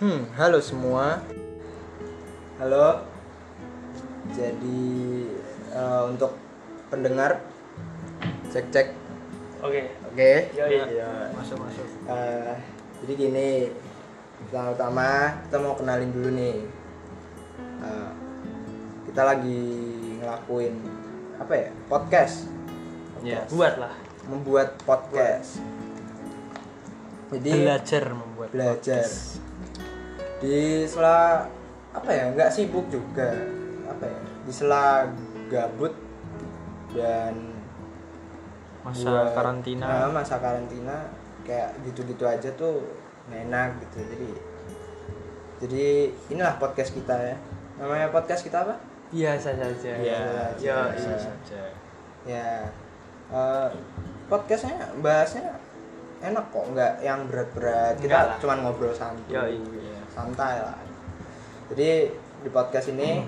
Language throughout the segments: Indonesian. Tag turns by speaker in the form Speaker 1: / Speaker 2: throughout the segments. Speaker 1: Hmm, halo semua. Halo. Jadi eh, untuk pendengar cek cek.
Speaker 2: Oke.
Speaker 1: Oke.
Speaker 2: Yo, yo.
Speaker 1: Iya.
Speaker 3: masuk masuk
Speaker 1: Eh, jadi gini, pertama-tama kita mau kenalin dulu nih. Eh, kita lagi ngelakuin apa ya? Podcast.
Speaker 2: Ya,
Speaker 1: Podcast.
Speaker 2: buat lah.
Speaker 1: membuat podcast. Jadi
Speaker 2: Belajar membuat.
Speaker 1: Iya. belajar di sela apa ya nggak sibuk juga apa ya di sela gabut dan
Speaker 2: Masa
Speaker 1: buat-
Speaker 2: karantina.
Speaker 1: Ah, masa karantina kayak gitu-gitu aja tuh nggak enak gitu jadi jadi inilah podcast kita ya namanya podcast kita apa
Speaker 2: Biasa saja.
Speaker 1: Iya,
Speaker 2: Yo,
Speaker 1: biasa
Speaker 2: iya.
Speaker 3: saja
Speaker 1: ya eh, podcastnya bahasnya enak kok nggak yang berat-berat
Speaker 2: Nggak
Speaker 1: kita
Speaker 2: lah.
Speaker 1: cuman ngobrol santai
Speaker 2: Yo,
Speaker 3: iya.
Speaker 1: santai lah jadi di podcast ini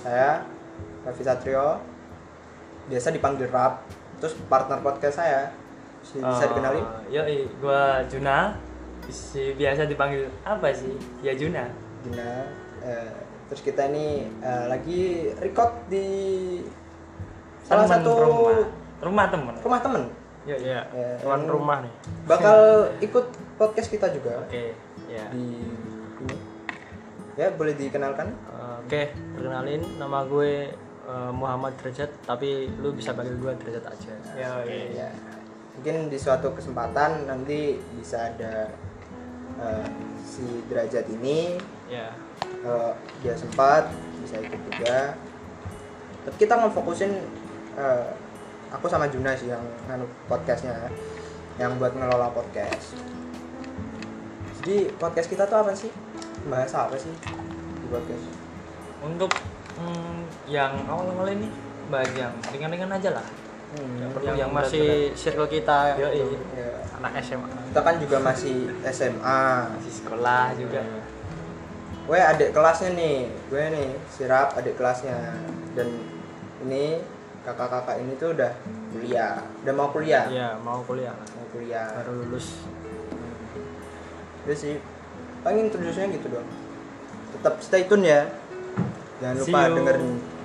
Speaker 1: saya Raffi Satrio biasa dipanggil Rap terus partner podcast saya bisa, bisa
Speaker 2: Eh,
Speaker 1: dikenalin
Speaker 2: Yo, iya. gua Juna. Si biasa dipanggil apa sih? Ya Juna.
Speaker 1: Gina Eh, terus kita ini eh, lagi record di salah
Speaker 2: Temen
Speaker 1: satu
Speaker 2: rumah. Rumah temen.
Speaker 1: rumah temen
Speaker 2: Yo, iya.
Speaker 1: Eh,
Speaker 2: Teman
Speaker 1: yang
Speaker 2: rumah nih.
Speaker 1: bakal ikut podcast kita juga
Speaker 2: Oke. Ya.
Speaker 1: di ini ya boleh dikenalkan
Speaker 2: Eh, Oke, perkenalin nama gue eh, Muhammad Derajat, tapi lu bisa panggil gue Derajat aja. Ya,
Speaker 1: ya mungkin di suatu kesempatan nanti bisa ada eh, si derajat ini
Speaker 2: Ya.
Speaker 1: kalau dia sempat bisa ikut juga tapi kita ngefokusin eh, aku sama Juna sih yang nganu podcastnya yang buat ngelola podcast jadi podcast kita tuh apa sih bahasa apa sih di podcast
Speaker 2: Untuk mm, yang awal-awal ini bahas yang ringan-ringan aja lah.
Speaker 1: Hmm,
Speaker 2: Yang,
Speaker 3: perlu
Speaker 2: yang
Speaker 3: yang
Speaker 2: masih circle kita. gitu.
Speaker 3: Yo, iya.
Speaker 1: ya.
Speaker 2: Anak SMA.
Speaker 1: kita kan juga masih SMA
Speaker 2: Masih sekolah juga.
Speaker 1: gue adik kelasnya nih gue nih sirap adik kelasnya dan ini kakak-kakak ini tuh udah kuliah udah mau kuliah
Speaker 2: Iya, mau kuliah lah.
Speaker 1: mau kuliah
Speaker 2: Baru lulus.
Speaker 1: udah sih paling introduce-nya gitu dong tetap stay tune ya jangan
Speaker 2: See
Speaker 1: lupa
Speaker 2: you.
Speaker 1: dengerin